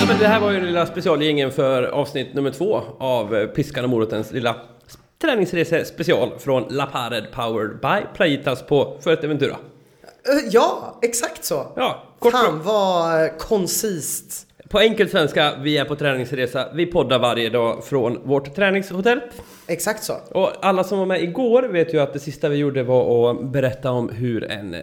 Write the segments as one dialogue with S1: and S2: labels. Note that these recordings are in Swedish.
S1: Ja, men det här var ju den lilla specialjingeln för avsnitt nummer två av eh, Piskan och morotens lilla s- träningsrese special från La Pared Powered by Playitas på Fuerteventura.
S2: Eh, Ja, exakt så.
S1: Ja, kort
S2: Fan
S1: på,
S2: vad eh, koncist.
S1: på enkel svenska, vi är på träningsresa, vi poddar varje dag från vårt träningshotell.
S2: Exakt så.
S1: Och alla som var med igår vet ju att det sista vi gjorde var att berätta om hur en eh,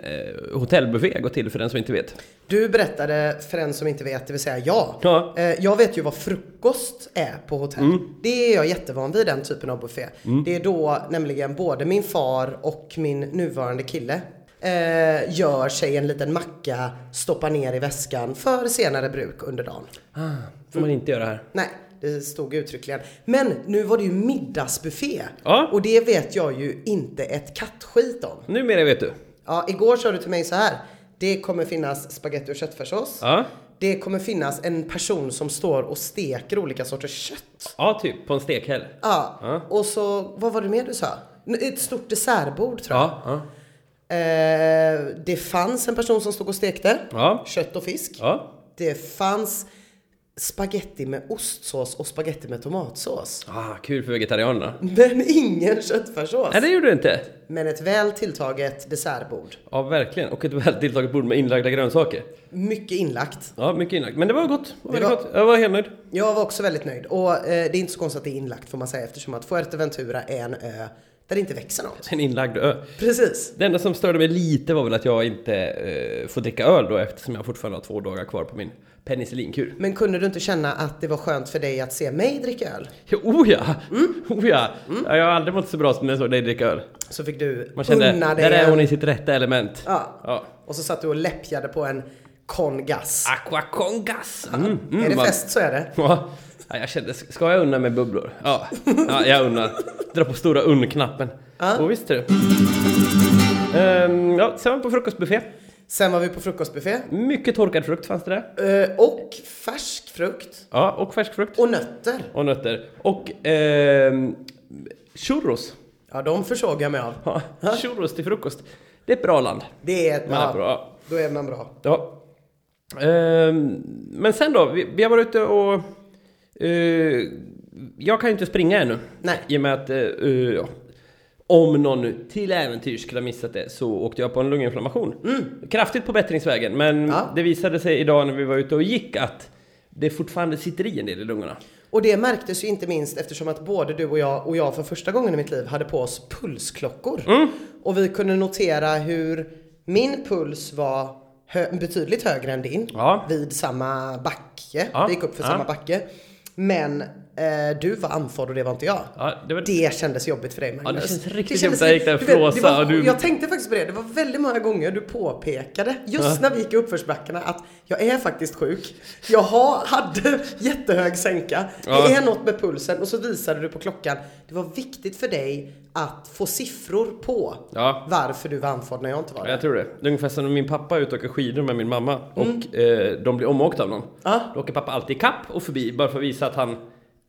S1: hotellbuffé går till för den som inte vet.
S2: Du berättade för en som inte vet, det vill säga jag.
S1: Ja. Mm.
S2: Eh, Jag vet ju vad frukost är på hotell. Det är jag jättevan vid, den typen av buffé. Det är då nämligen både min far och min nuvarande kille eh, gör sig en liten macka, stoppar ner i väskan för senare bruk under dagen.
S1: Ah, får man inte göra här.
S2: Nej, det stod uttryckligen. Men nu var det ju middagsbuffé.
S1: Ja.
S2: Och det vet jag ju inte ett kattskit om.
S1: Numera vet du.
S2: Ja, igår sa du till mig så här. Det kommer finnas spagetti och köttfärssås.
S1: Ja,
S2: Det kommer finnas en person som står och steker olika sorters kött.
S1: ja typ på en stekhäll.
S2: Ja.
S1: Ja.
S2: Och så, vad var det mer du sa? N- Ett stort dessertbord tror jag.
S1: Ja, ja,
S2: Eh, det fanns en person som stod och stekte.
S1: ja.
S2: Kött och fisk.
S1: ja.
S2: Det fanns spagetti med ostsås och spagetti med tomatsås.
S1: Ah, kul för vegetarianerna.
S2: Men ingen köttfärssås.
S1: Nej, det gjorde du inte.
S2: Men ett väl tilltaget dessertbord.
S1: Ja, verkligen. Och ett väl tilltaget bord med inlagda grönsaker.
S2: Mycket inlagt.
S1: Ja, mycket inlagt. Men det var gott. Det var
S2: Det
S1: väldigt
S2: var-
S1: gott. Jag var helt nöjd.
S2: Jag var också väldigt nöjd. Och eh, det är inte så konstigt att det är inlagt får man säga eftersom att Fuerteventura är en ö där det inte växer något.
S1: En inlagd ö.
S2: Precis.
S1: Det enda som störde mig lite var väl att jag inte eh, får dricka öl då eftersom jag fortfarande har två dagar kvar på min penicillinkur.
S2: Men kunde du inte känna att det var skönt för dig att se mig dricka öl?
S1: Ja, Oh ja!
S2: Mm.
S1: Oh ja. ja! Jag har aldrig mått så bra som när jag såg dig dricka öl.
S2: Så fick du
S1: Man kände,
S2: unna dig
S1: där är
S2: en-
S1: hon i sitt rätta element.
S2: Ja.
S1: ja.
S2: Och så satt du och läppjade på en kongas.
S1: Aqua con gas! Mm, mm,
S2: är det
S1: vad-
S2: fest så är det.
S1: Ja, Ja, jag kände, ska jag unna mig bubblor? Ja, ja jag unnar. Dra på stora unn-knappen.
S2: Ja.
S1: Och visst du. Ehm, ja, sen var vi på frukostbuffé.
S2: Sen var vi på frukostbuffé.
S1: Mycket torkad frukt fanns det där.
S2: Eh, Och färsk frukt.
S1: Ja, och färsk frukt.
S2: Och nötter.
S1: Och nötter. Och ehm, churros.
S2: Ja, de försåg jag mig av.
S1: Ja, churros till frukost. Det är ett bra land.
S2: Det är...
S1: Man är
S2: Ja,
S1: bra.
S2: då är man bra.
S1: Ja. Ehm, men sen då, vi, vi har varit ute och... eh, jag kan ju inte springa ännu.
S2: Nej.
S1: I och med att... eh, eh, ja. Om någon nu till äventyrs skulle ha missat det så åkte jag på en lunginflammation. Kraftigt på bättringsvägen, men
S2: Mm. Ja.
S1: det visade sig idag när vi var ute och gick att det fortfarande sitter i en del i lungorna.
S2: Och det märktes ju inte minst eftersom att både du och jag och jag för första gången i mitt liv hade på oss pulsklockor.
S1: Mm.
S2: Och vi kunde notera hur min puls var hö- betydligt högre än din
S1: Ja.
S2: vid samma backe.
S1: Ja.
S2: Vi gick upp för
S1: Ja.
S2: samma backe. Men eh, du var andfådd och det var inte jag.
S1: Ja, det var...
S2: Det kändes jobbigt för dig Magnus.
S1: Ja, det känns riktigt
S2: kändes-
S1: jobbigt. Jag gick där och
S2: du vet, det var-
S1: flåsade och du-
S2: Jag tänkte faktiskt på det. Det var väldigt många gånger du påpekade just när vi gick i uppförsbackarna att jag är faktiskt sjuk. Jag har, hade jättehög sänka.
S1: Ja.
S2: Det är något med pulsen och så visade du på klockan. Det var viktigt för dig att få siffror på
S1: Ja.
S2: varför du var andfådd när jag inte var
S1: Ja,
S2: det.
S1: jag tror det. Det är ungefär som när min pappa är ute och åker skidor med min mamma och eh, de blir omåkta av någon.
S2: Ja.
S1: Då åker pappa alltid i kapp och förbi bara för att visa att han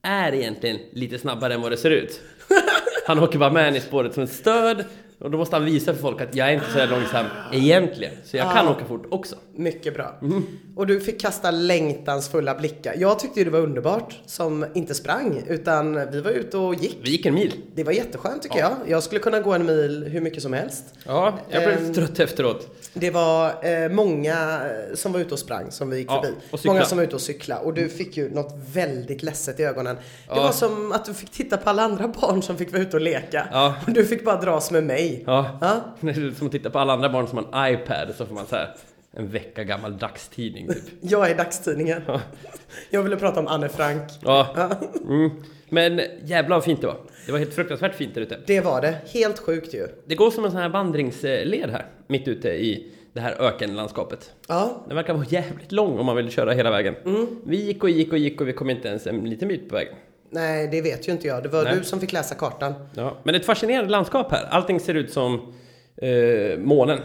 S1: är egentligen lite snabbare än vad det ser ut. Han åker bara med en i spåret som ett stöd och då måste han visa för folk att jag är inte så här långsam egentligen, så jag kan åka fort också.
S2: Mycket bra.
S1: Mm.
S2: Och du fick kasta längtansfulla blickar. Jag tyckte ju det var underbart som inte sprang utan vi var ute och gick.
S1: Vi gick en mil.
S2: Det var jätteskönt tycker jag. Jag skulle kunna gå en mil hur mycket som helst.
S1: Ja, jag blev
S2: Ehm,
S1: trött efteråt.
S2: Det var eh, många eh, som var ute och sprang som vi gick
S1: Ja,
S2: förbi.
S1: och cykla.
S2: Många som var ute och cykla och du fick ju något väldigt ledset i ögonen. Det
S1: Ja.
S2: var som att du fick titta på alla andra barn som fick vara ute och leka.
S1: Ja.
S2: Och du fick bara dras med mig.
S1: Ja.
S2: Ja.
S1: Det är som att titta på alla andra barn som har en iPad så får man så här en vecka gammal dagstidning typ.
S2: Jag är dagstidningen. Jag ville prata om Anne Frank.
S1: Ja. Mm. Men jävlar vad fint det var. Det var helt fruktansvärt fint där ute.
S2: Det var det. Helt sjukt ju.
S1: Det går som en sån här vandringsled här, mitt ute i det här ökenlandskapet.
S2: Ja.
S1: Den verkar vara jävligt lång om man vill köra hela vägen. Vi gick och gick och gick och vi kom inte ens en liten bit på vägen.
S2: Nej, det vet ju inte jag. Det var
S1: Nej.
S2: du som fick läsa kartan.
S1: Ja. Men ett fascinerande landskap här. Allting ser ut som eh, månen,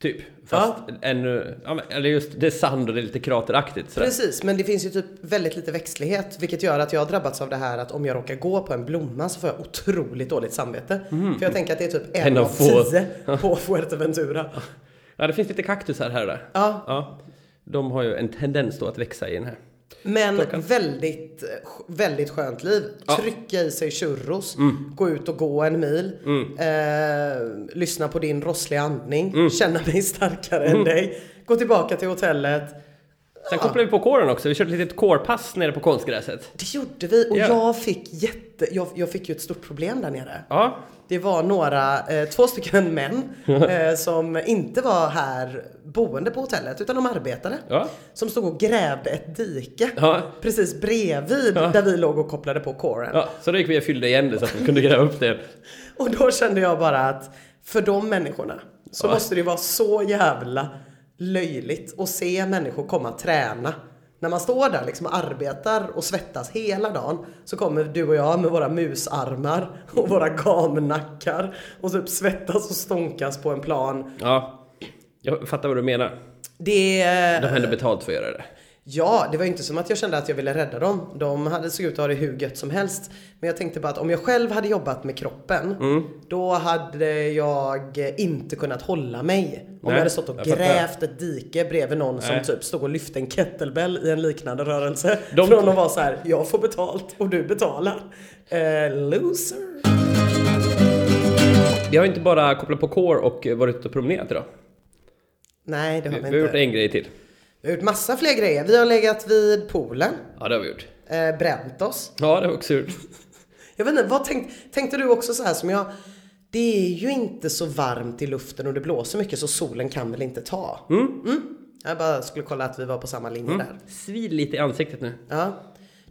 S1: typ. Fast ännu... Ja, men, eller just, det är sand och det är lite krateraktigt sådär.
S2: Precis, men det finns ju typ väldigt lite växtlighet vilket gör att jag har drabbats av det här att om jag råkar gå på en blomma så får jag otroligt dåligt samvete. För jag tänker att det är typ en,
S1: Mhm. En av
S2: av,
S1: få.
S2: tio på Fuerteventura.
S1: Ja, det finns lite kaktusar här och där.
S2: Ja,
S1: Ja. de har ju en tendens då att växa i den här.
S2: Men väldigt, väldigt skönt liv. Trycka i sig churros,
S1: Mm.
S2: gå ut och gå en mil, eh, lyssna på din rossliga andning,
S1: Mm.
S2: känna dig starkare än dig, gå tillbaka till hotellet.
S1: Sen kopplade vi på kåren också. Vi körde ett litet kårpass nere på konstgräset.
S2: Det gjorde vi och
S1: Ja.
S2: jag fick jätte, jag, jag fick ju ett stort problem där nere.
S1: Ja,
S2: Det var några, eh, två stycken män eh, som inte var här boende på hotellet utan de arbetade.
S1: ja,
S2: Som stod och grävde ett dike
S1: Ja.
S2: precis bredvid där vi låg och kopplade på kåren.
S1: ja. Så då gick vi och fyllde igen det så att vi kunde gräva upp det.
S2: Och då kände jag bara att för de människorna så
S1: Ja.
S2: måste det vara så jävla löjligt att se människor komma och träna. När man står där liksom och arbetar och svettas hela dagen så kommer du och jag med våra musarmar och våra gamnackar och typ svettas och stånkas på en plan.
S1: Ja, jag fattar vad du menar.
S2: Det...
S1: De har ändå betalt för att göra det.
S2: Ja, det var ju inte som att jag kände att jag ville rädda dem. De hade såg ut att ha det hur gött som helst. Men jag tänkte bara att om jag själv hade jobbat med kroppen,
S1: Mm.
S2: då hade jag inte kunnat hålla mig. Om
S1: Nej,
S2: jag hade stått och
S1: jag fattar.
S2: grävt ett dike bredvid någon
S1: Nej.
S2: som typ stod och lyfte en kettlebell i en liknande rörelse.
S1: De-
S2: Från att vara så här, jag får betalt och du betalar. Eh, loser.
S1: Vi har inte bara kopplat på core och eh, varit ute och promenerat idag.
S2: Nej, det har
S1: Vi, vi
S2: vi, inte.
S1: har gjort en grej till.
S2: Vi har gjort massa fler grejer. Vi har legat vid poolen,
S1: Ja, det har vi gjort.
S2: eh, bränt oss.
S1: Ja, det har vi också gjort.
S2: Jag vet inte, vad tänk, tänkte du också så här som jag? Det är ju inte så varmt i luften och det blåser mycket så solen kan väl inte ta? Mm. Jag bara skulle kolla att vi var på samma linje där.
S1: Svid lite i ansiktet nu.
S2: Ja.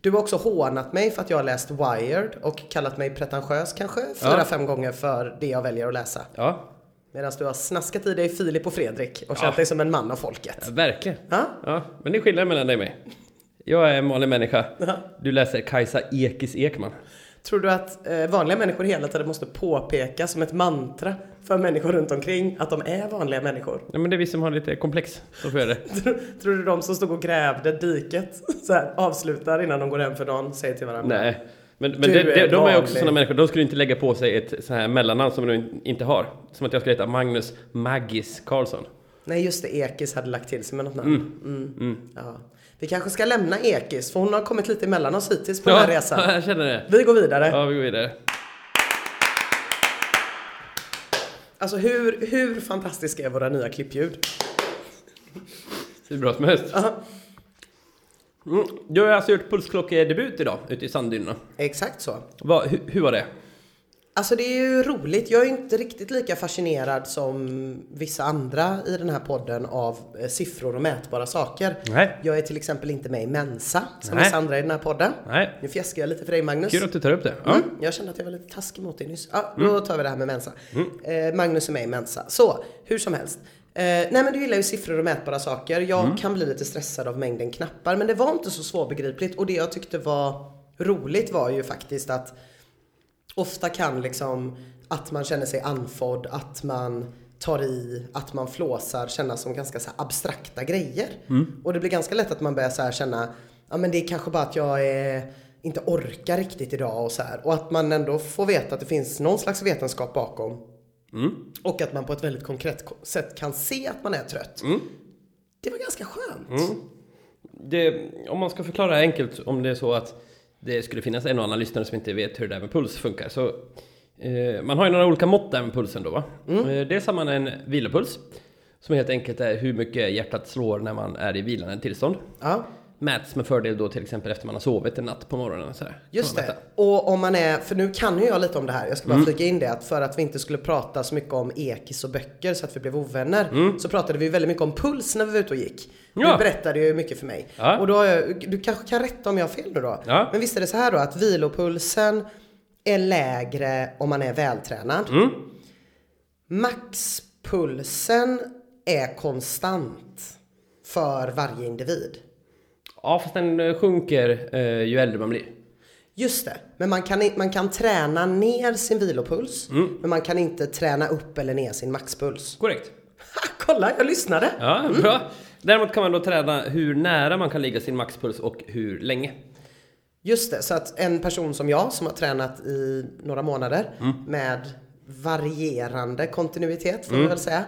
S2: Du har också hånat mig för att jag har läst Wired och kallat mig pretentiös kanske fyra, fem gånger för det jag väljer att läsa.
S1: Ja,
S2: Medan du har snaskat i dig Filip och Fredrik och känt dig som en man av folket.
S1: ja, verkligen.
S2: Ja.
S1: Ja, men det är skillnaden mellan dig och mig. Jag är en vanlig människa. Du läser Kajsa Ekis Ekman.
S2: Tror du att eh, vanliga människor hela tiden måste påpeka som ett mantra för människor runt omkring att de är vanliga människor?
S1: Nej, men det är vi som har lite komplex. Så får jag det.
S2: Tror, tror du de som stod och grävde diket så här, avslutar innan de går hem för dagen, säger till varandra?
S1: Nej. Men, men
S2: Du
S1: det, det,
S2: är
S1: de är ju också
S2: vanlig.
S1: sådana människor. De skulle inte lägga på sig ett så här mellannamn som de in- inte har. Som att jag skulle heta Magnus Maggis Karlsson.
S2: Nej, just det. Ekis hade lagt till sig med något namn. Mm. Ja. Vi kanske ska lämna Ekis, för hon har kommit lite emellan oss hittills på den här resan.
S1: jag känner det.
S2: Vi går vidare.
S1: Ja, vi går vidare.
S2: Alltså hur, hur fantastiska är våra nya klippljud?
S1: Det är bra som helst.
S2: Ja,
S1: Mm. Du har alltså gjort pulsklockedebut idag ute i Sanddynerna.
S2: exakt så.
S1: Vad- hu, hur var det?
S2: Alltså det är ju roligt. Jag är ju inte riktigt lika fascinerad som vissa andra i den här podden av eh, siffror och mätbara saker.
S1: Nej.
S2: Jag är till exempel inte med i Mensa, som
S1: Nej.
S2: vissa andra i den här podden.
S1: Nej.
S2: Nu fjäskar jag lite för dig Magnus.
S1: Kul att Mm. du tar upp det. Ja.
S2: Mm, jag kände att jag var lite taskig mot dig nyss. Ja, då tar vi det här med Mensa.
S1: Mm.
S2: Eh, Magnus är med i Mensa. Så, hur som helst. Eh, nej men du gillar ju siffror och mätbara saker. Jag
S1: Mm.
S2: kan bli lite stressad av mängden knappar. Men det var inte så svårbegripligt. Och det jag tyckte var roligt var ju faktiskt att ofta kan liksom att man känner sig andfådd, att man tar i, att man flåsar kännas som ganska så här abstrakta grejer. Och det blir ganska lätt att man börjar så här känna, ja men det är kanske bara att jag är, inte orkar riktigt idag och så här. Och att man ändå får veta att det finns någon slags vetenskap bakom. Och att man på ett väldigt konkret ko- sätt kan se att man är trött. Det var ganska skönt.
S1: det, om man ska förklara enkelt, om det är så att det skulle finnas en och annan lyssnare som inte vet hur det där med puls funkar. Så, eh, man har ju några olika mått där med pulsen då va? Eh, dels har man en vilopuls, som helt enkelt är hur mycket hjärtat slår när man är i vilande tillstånd.
S2: Ja,
S1: Mäts med fördel då till exempel efter man har sovit en natt på morgonen. och Så här.
S2: Just
S1: Kan man
S2: det.
S1: mäta.
S2: Och om man är, för nu kan ju jag lite om det här, jag
S1: Mm.
S2: ska bara flika in det, att för att vi inte skulle prata så mycket om ekis och böcker så att vi blev ovänner, så pratade vi ju väldigt mycket om puls när vi var ute och gick.
S1: Mm. Ja.
S2: Du berättade ju mycket för mig.
S1: Ja.
S2: Och då, har jag- du kanske kan rätta om jag har fel nu då.
S1: Ja.
S2: Men visst är det så här då att vilopulsen är lägre om man är vältränad.
S1: Mm.
S2: Maxpulsen är konstant för varje individ.
S1: Ja, fast den eh, sjunker eh, ju äldre man blir.
S2: Just det, men man kan, i- man kan träna ner sin vilopuls,
S1: Mm.
S2: men man kan inte träna upp eller ner sin maxpuls.
S1: Korrekt.
S2: Ha, kolla, jag lyssnade!
S1: Ja, bra. Däremot kan man då träna hur nära man kan ligga sin maxpuls och hur länge.
S2: Just det, så att en person som jag som har tränat i
S1: Mm.
S2: några
S1: Mm.
S2: månader med varierande kontinuitet får man väl säga,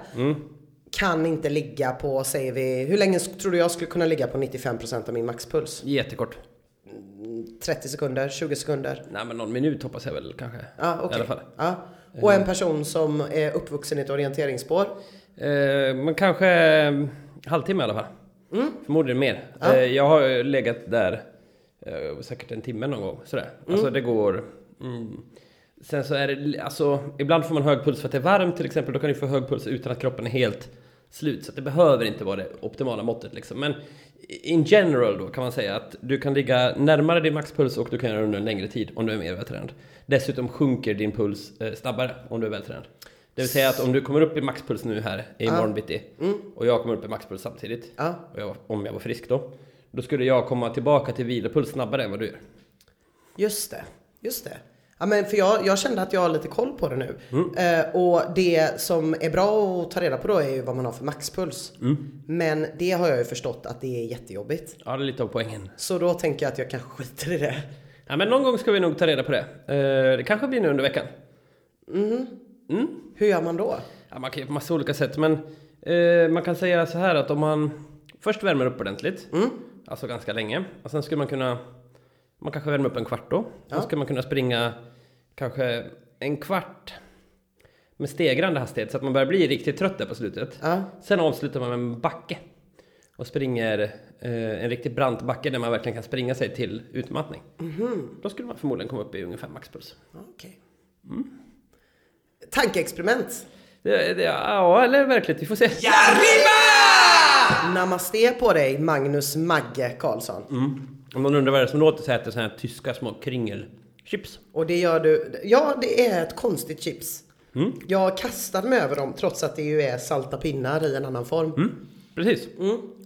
S2: kan inte ligga på, säger vi, hur länge sk- tror du jag skulle kunna ligga på 95% av min maxpuls?
S1: Jättekort.
S2: 30 sekunder, 20 sekunder?
S1: Nej men någon minut hoppas jag väl kanske.
S2: Ja, okej.
S1: I alla fall.
S2: Ja. Och en person som är uppvuxen i ett orienteringsspår?
S1: Eh, men kanske eh, halvtimme i alla fall.
S2: Mm.
S1: Förmodligen mer. Eh, jag har eh, legat där eh, säkert en timme någon gång. Sådär. Alltså det går... Mm. Sen så är det, li- alltså ibland får man hög puls för att det är varmt till exempel. Då kan du få hög puls utan att kroppen är helt slut. Så att det behöver inte vara det optimala måttet liksom. Men in general då kan man säga att du kan ligga närmare din maxpuls och du kan göra det under en längre tid om du är mer vältränad. Dessutom sjunker din puls eh, snabbare om du är vältränad. Det vill säga att om du kommer upp i maxpuls nu här imorgon bitti och jag kommer upp i maxpuls samtidigt,
S2: Ja.
S1: och jag, var- om jag var frisk då, då skulle jag komma tillbaka till vilopuls snabbare än vad du gör.
S2: Just det, just det. Ja, men för jag, jag kände att jag har lite koll på det nu. Eh, och det som är bra att ta reda på då är ju vad man har för maxpuls. Men det har jag ju förstått att det är jättejobbigt.
S1: Ja, det är lite av poängen.
S2: Så då tänker jag att jag kanske skiter i det.
S1: Ja, men någon gång ska vi nog ta reda på det. Eh, det kanske blir nu under veckan.
S2: Hur gör man då?
S1: Ja, man kan göra på massa olika sätt, men eh, man kan säga så här att om man först värmer upp ordentligt, alltså ganska länge, och sen skulle man kunna, man kanske värmer upp en kvart då, sen skulle man kunna springa kanske en kvart med stegrande hastighet så att man börjar bli riktigt trött där på slutet.
S2: Ja.
S1: Sen avslutar man med en backe och springer eh, en riktigt brant backe där man verkligen kan springa sig till utmattning. Då skulle man förmodligen komma upp i ungefär maxpuls.
S2: Ja, Okej. Tankeexperiment.
S1: Det, det, ja, eller verkligt, vi får se.
S2: Namaste på dig Magnus Magge Karlsson.
S1: Mm. Om någon undrar vad det är som låter så äter sådana här tyska små kringelchips.
S2: Och det gör du... Ja, det är ett konstigt chips. Jag kastade mig över dem trots att det ju är salta pinnar i en annan form.
S1: Precis.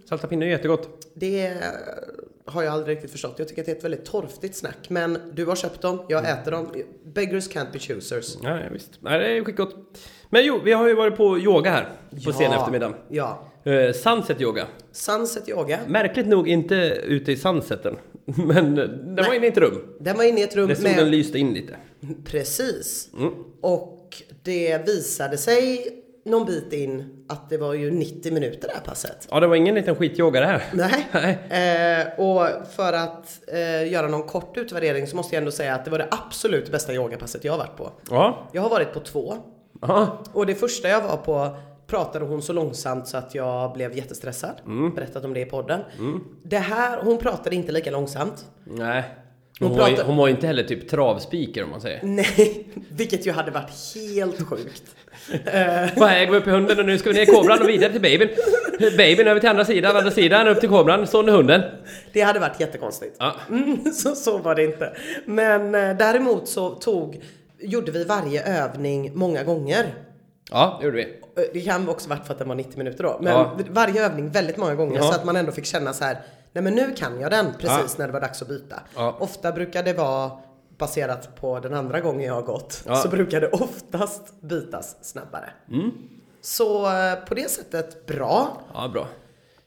S1: Salta pinnar är jättegott.
S2: Det eh, har jag aldrig riktigt förstått. Jag tycker att det är ett väldigt torftigt snack. Men du har köpt dem, jag
S1: Mm.
S2: äter dem. Beggars can't be choosers.
S1: Ja, ja, visst. Nej, det är ju skitgott. Men jo, vi har ju varit på yoga här på
S2: Ja.
S1: sen eftermiddag.
S2: Ja.
S1: Eh, sunset yoga.
S2: Sunset yoga.
S1: Märkligt nog inte ute i sunseten. Men eh, den var inne i ett rum.
S2: Den var inne i ett rum
S1: Där solen
S2: med...
S1: lyste in lite.
S2: Precis.
S1: Mm.
S2: Och det visade sig någon bit in att det var ju 90 minuter det här passet.
S1: Ja, det var ingen liten skityoga det här.
S2: Nej.
S1: Nej.
S2: Eh, och för att eh, göra någon kort utvärdering så måste jag ändå säga att det var det absolut bästa yogapasset jag har varit på.
S1: Ja.
S2: Jag har varit på två.
S1: Ja.
S2: Och det första jag var på pratade hon så långsamt så att jag blev jättestressad. Berättat om det i podden. Det här, hon pratade inte lika långsamt.
S1: Nej.
S2: Hon
S1: Hon, var ju,
S2: pratar-
S1: hon var ju inte heller typ travspiker om man säger.
S2: Nej, vilket ju hade varit helt sjukt. Eh,
S1: På väg upp i hunden och nu ska vi ner i kobran och vidare till babyn. Babyn över till andra sidan, andra sidan upp till kobran, så under hunden.
S2: Det hade varit jättekonstigt.
S1: Ja.
S2: Mm, så, så var det inte. Men eh, däremot så tog, gjorde vi varje övning många gånger.
S1: Ja, det gjorde vi.
S2: Eh, Det kan också varit för att den var 90 minuter då. Men
S1: Ja.
S2: varje övning väldigt många gånger
S1: Ja.
S2: så att man ändå fick känna så här. Nej men nu kan jag den precis när det var dags att byta.
S1: Ja.
S2: Ofta brukar det vara baserat på den andra gången jag har gått.
S1: Ja. Mm.
S2: Så brukar det oftast bytas snabbare. Så eh, på det sättet bra.
S1: Ja, bra.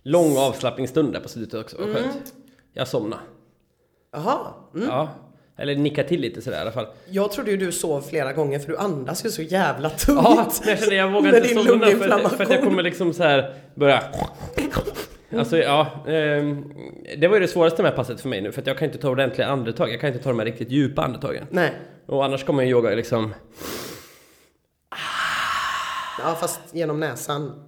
S1: Lång avslappningsstund där på slutet också, vad skönt. Jag somnade.
S2: Jaha. Mm.
S1: Ja. Eller nicka till lite sådär i alla fall.
S2: Jag trodde ju du sov flera gånger för du andas ju så jävla tungt.
S1: Ja, men jag kände jag vågar
S2: Med
S1: inte
S2: din
S1: somna för, att- för att jag
S2: lunginflammation.
S1: kommer liksom så här börja... Alltså ja, ehm, det var ju det svåraste med passet för mig nu för att jag kan inte ta ordentliga andetag, jag kan inte ta de här riktigt djupa andetagen.
S2: Nej.
S1: Och annars kommer ju yoga liksom,
S2: Ja fast genom näsan.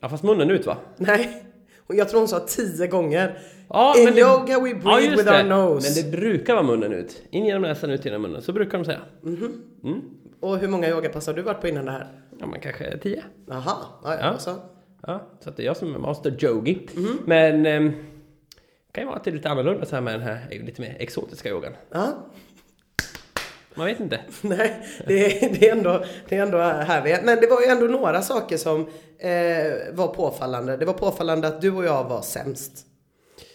S1: ja fast munnen ut va?
S2: Nej. Och jag tror hon sa tio gånger.
S1: Ja,
S2: In
S1: men det-
S2: yoga we breathe
S1: just
S2: with
S1: det.
S2: our nose.
S1: Men det brukar vara munnen ut. In genom näsan, ut genom munnen. Så brukar de säga.
S2: Och hur många yogapass har du varit på innan det här?
S1: Ja, men kanske tio.
S2: Jaha, ja, ja.
S1: Ja.
S2: Alltså.
S1: Ja, så att det är jag som är master yogi.
S2: Mhm.
S1: Men ehm, det kan ju vara att det är lite annorlunda så här med den här eh, lite mer exotiska yogan.
S2: ja.
S1: Man vet inte.
S2: Nej, det, är- det, är ändå, det är ändå här vi är. Men det var ju ändå några saker som eh, var påfallande. Det var påfallande att du och jag var sämst.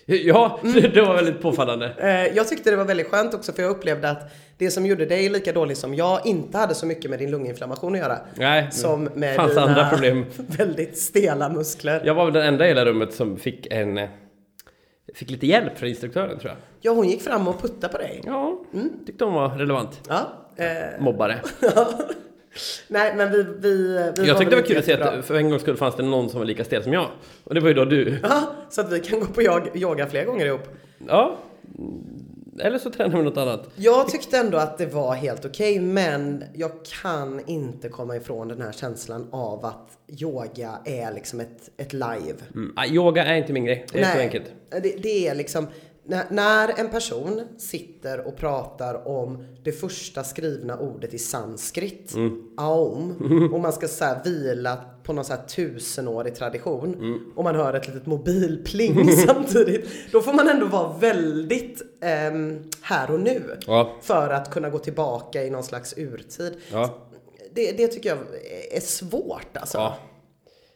S1: Ja,
S2: Mm.
S1: det var väldigt påfallande.
S2: Eh, jag tyckte det var väldigt skönt också för jag upplevde att det som gjorde dig lika dålig som jag inte hade så mycket med din lunginflammation att göra.
S1: Nej,
S2: Som med
S1: fanns
S2: dina
S1: andra problem.
S2: väldigt stela muskler.
S1: Jag var väl den enda i hela rummet som fick en... eh, Fick lite hjälp från instruktören tror jag.
S2: Ja, hon gick fram och puttade på dig.
S1: Ja, tyckte hon var relevant.
S2: Mm. Ja, eh,
S1: Mobbare.
S2: Nej, men vi... vi, vi
S1: Jag tyckte det var kul att se
S2: jättebra.
S1: att för en gångs skull fanns det någon som var lika stel som jag. Och det var ju då du.
S2: Ja, så att vi kan gå på jag- yoga fler gånger ihop.
S1: Ja. Eller så tränar vi något annat.
S2: Jag tyckte ändå att det var helt okej, men jag kan inte komma ifrån den här känslan av att yoga är liksom ett, ett live.
S1: Mm. Ah, yoga är inte min grej. Det är så enkelt.
S2: Det, det är liksom, när, när en person sitter och pratar om det första skrivna ordet i sanskrit,
S1: Mm.
S2: aum, och man ska så här vila på någon så här tusenårig tradition
S1: Mm.
S2: och man hör ett litet mobilpling samtidigt, då får man ändå vara väldigt ehm, här och nu
S1: Ja.
S2: för att kunna gå tillbaka i någon slags urtid.
S1: Ja.
S2: Det, det tycker jag är svårt alltså.
S1: Ja.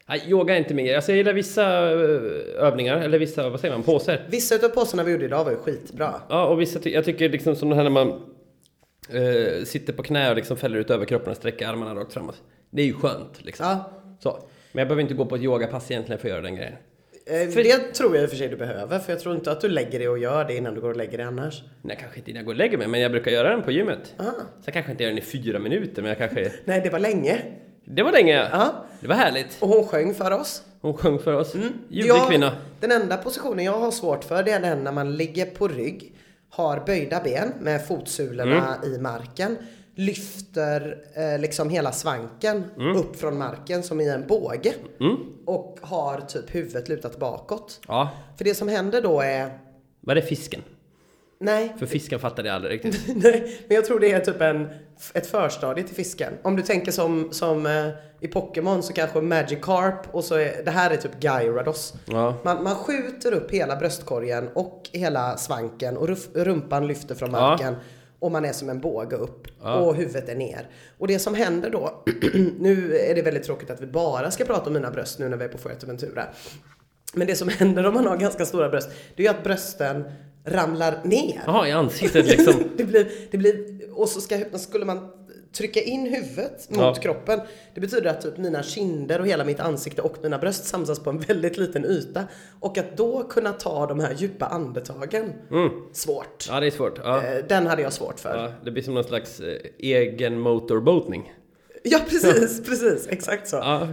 S1: Nej, yoga är inte min grej. Alltså, jag gillar vissa eh, övningar, eller vissa, vad säger man, poser.
S2: Vissa utav påsarna vi gjorde idag var ju skitbra.
S1: Ja, och vissa ty- jag tycker liksom som det här när man eh, sitter på knä och liksom fäller ut överkroppen och sträcker armarna rakt framåt. Det är ju skönt liksom.
S2: Ja.
S1: Så. Men jag behöver inte gå på ett yogapass egentligen för att göra den grejen.
S2: Eh, Det tror jag i och för sig du behöver, för jag tror inte att du lägger dig och gör det innan du går och lägger dig annars.
S1: Nej, kanske inte innan jag går och lägger mig, men jag brukar göra den på gymmet.
S2: Ah.
S1: Sen kanske jag inte gör den i fyra minuter, men jag kanske...
S2: Nej, det var länge.
S1: Det var länge!
S2: Ja.
S1: Det var härligt.
S2: Och hon sjöng för oss.
S1: Hon sjöng för oss. Ljuvlig
S2: Jag-
S1: kvinna.
S2: Den enda positionen jag har svårt för, det är den när man ligger på rygg, har böjda ben med fotsulorna i marken, lyfter eh, liksom hela svanken upp från marken som i en båge och har typ huvudet lutat bakåt.
S1: Ja.
S2: För det som händer då är,
S1: Var det fisken?
S2: nej,
S1: För fisken fattade jag aldrig riktigt.
S2: Nej, men jag tror det är typ en, ett förstadie till fisken. Om du tänker som, som eh, i Pokémon så kanske Magikarp och så är, det här är typ Gyarados.
S1: Ja.
S2: Man, man skjuter upp hela bröstkorgen och hela svanken och ruff, rumpan lyfter från
S1: Ja.
S2: marken. Och man är som en båge upp och huvudet är ner. Och det som händer då, nu är det väldigt tråkigt att vi bara ska prata om mina bröst nu när vi är på Fuerteventura. Men det som händer om man har ganska stora bröst, det är ju att brösten ramlar ner.
S1: Jaha, i ansiktet liksom.
S2: det blir, det blir, och så ska, hypnos- skulle man trycka in huvudet mot
S1: Ja.
S2: kroppen. Det betyder att typ mina kinder och hela mitt ansikte och mina bröst samsas på en väldigt liten yta. Och att då kunna ta de här djupa andetagen, svårt.
S1: Ja, det är svårt. Mm. Ja.
S2: Eh, Den hade jag svårt för. Ja,
S1: Ja, det blir som någon slags eh, egen motorboatning.
S2: precis, precis, exakt så.
S1: Ja.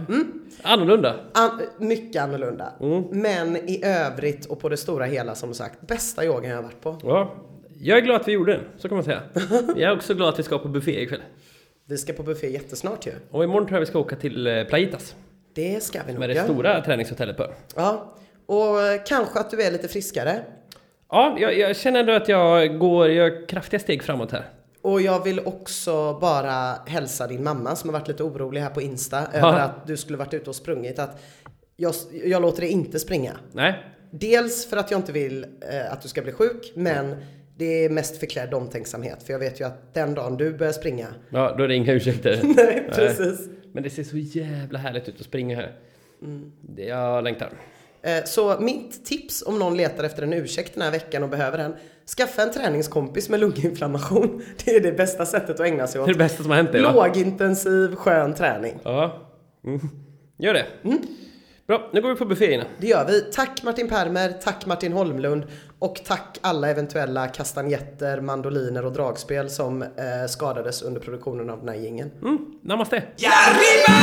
S1: Annorlunda.
S2: An- mycket annorlunda.
S1: Mm.
S2: Men i övrigt och på det stora hela som sagt, bästa yogan jag har varit på.
S1: Ja. Jag är glad att vi gjorde den, så kan man säga. Jag är också glad att vi ska på buffé ikväll.
S2: Vi ska på buffé jättesnart ju.
S1: Och imorgon tror jag vi ska åka till eh, Playitas.
S2: Det ska vi nog
S1: Med det
S2: göra.
S1: stora träningshotellet på ön.
S2: Ja, och eh, kanske att du är lite friskare.
S1: Ja, jag, jag känner ändå att jag går, gör kraftiga steg framåt här.
S2: Och jag vill också bara hälsa din mamma som har varit lite orolig här på Insta över att du skulle varit ute och sprungit. Att jag, jag låter dig inte springa.
S1: Nej.
S2: Dels för att jag inte vill eh, att du ska bli sjuk, men det är mest förklädd omtänksamhet. För jag vet ju att den dagen du börjar springa.
S1: Ja, då är det inga ursäkter.
S2: Nej, precis.
S1: Men det ser så jävla härligt ut att springa här. Det, jag längtar.
S2: Eh, Så mitt tips om någon letar efter en ursäkt den här veckan och behöver en. Skaffa en träningskompis med lunginflammation. Det är det bästa sättet att ägna sig
S1: Det är
S2: åt.
S1: det bästa som har hänt dig, va?
S2: Lågintensiv, skön träning.
S1: Ja. Mm. Gör det. Bra, nu går vi på buffé Ina.
S2: Det gör vi. Tack Martin Permer, tack Martin Holmlund och tack alla eventuella kastanjetter, mandoliner och dragspel som eh, skadades under produktionen av den här jingeln.
S1: Mm. Namaste.
S3: ¡Y arriba!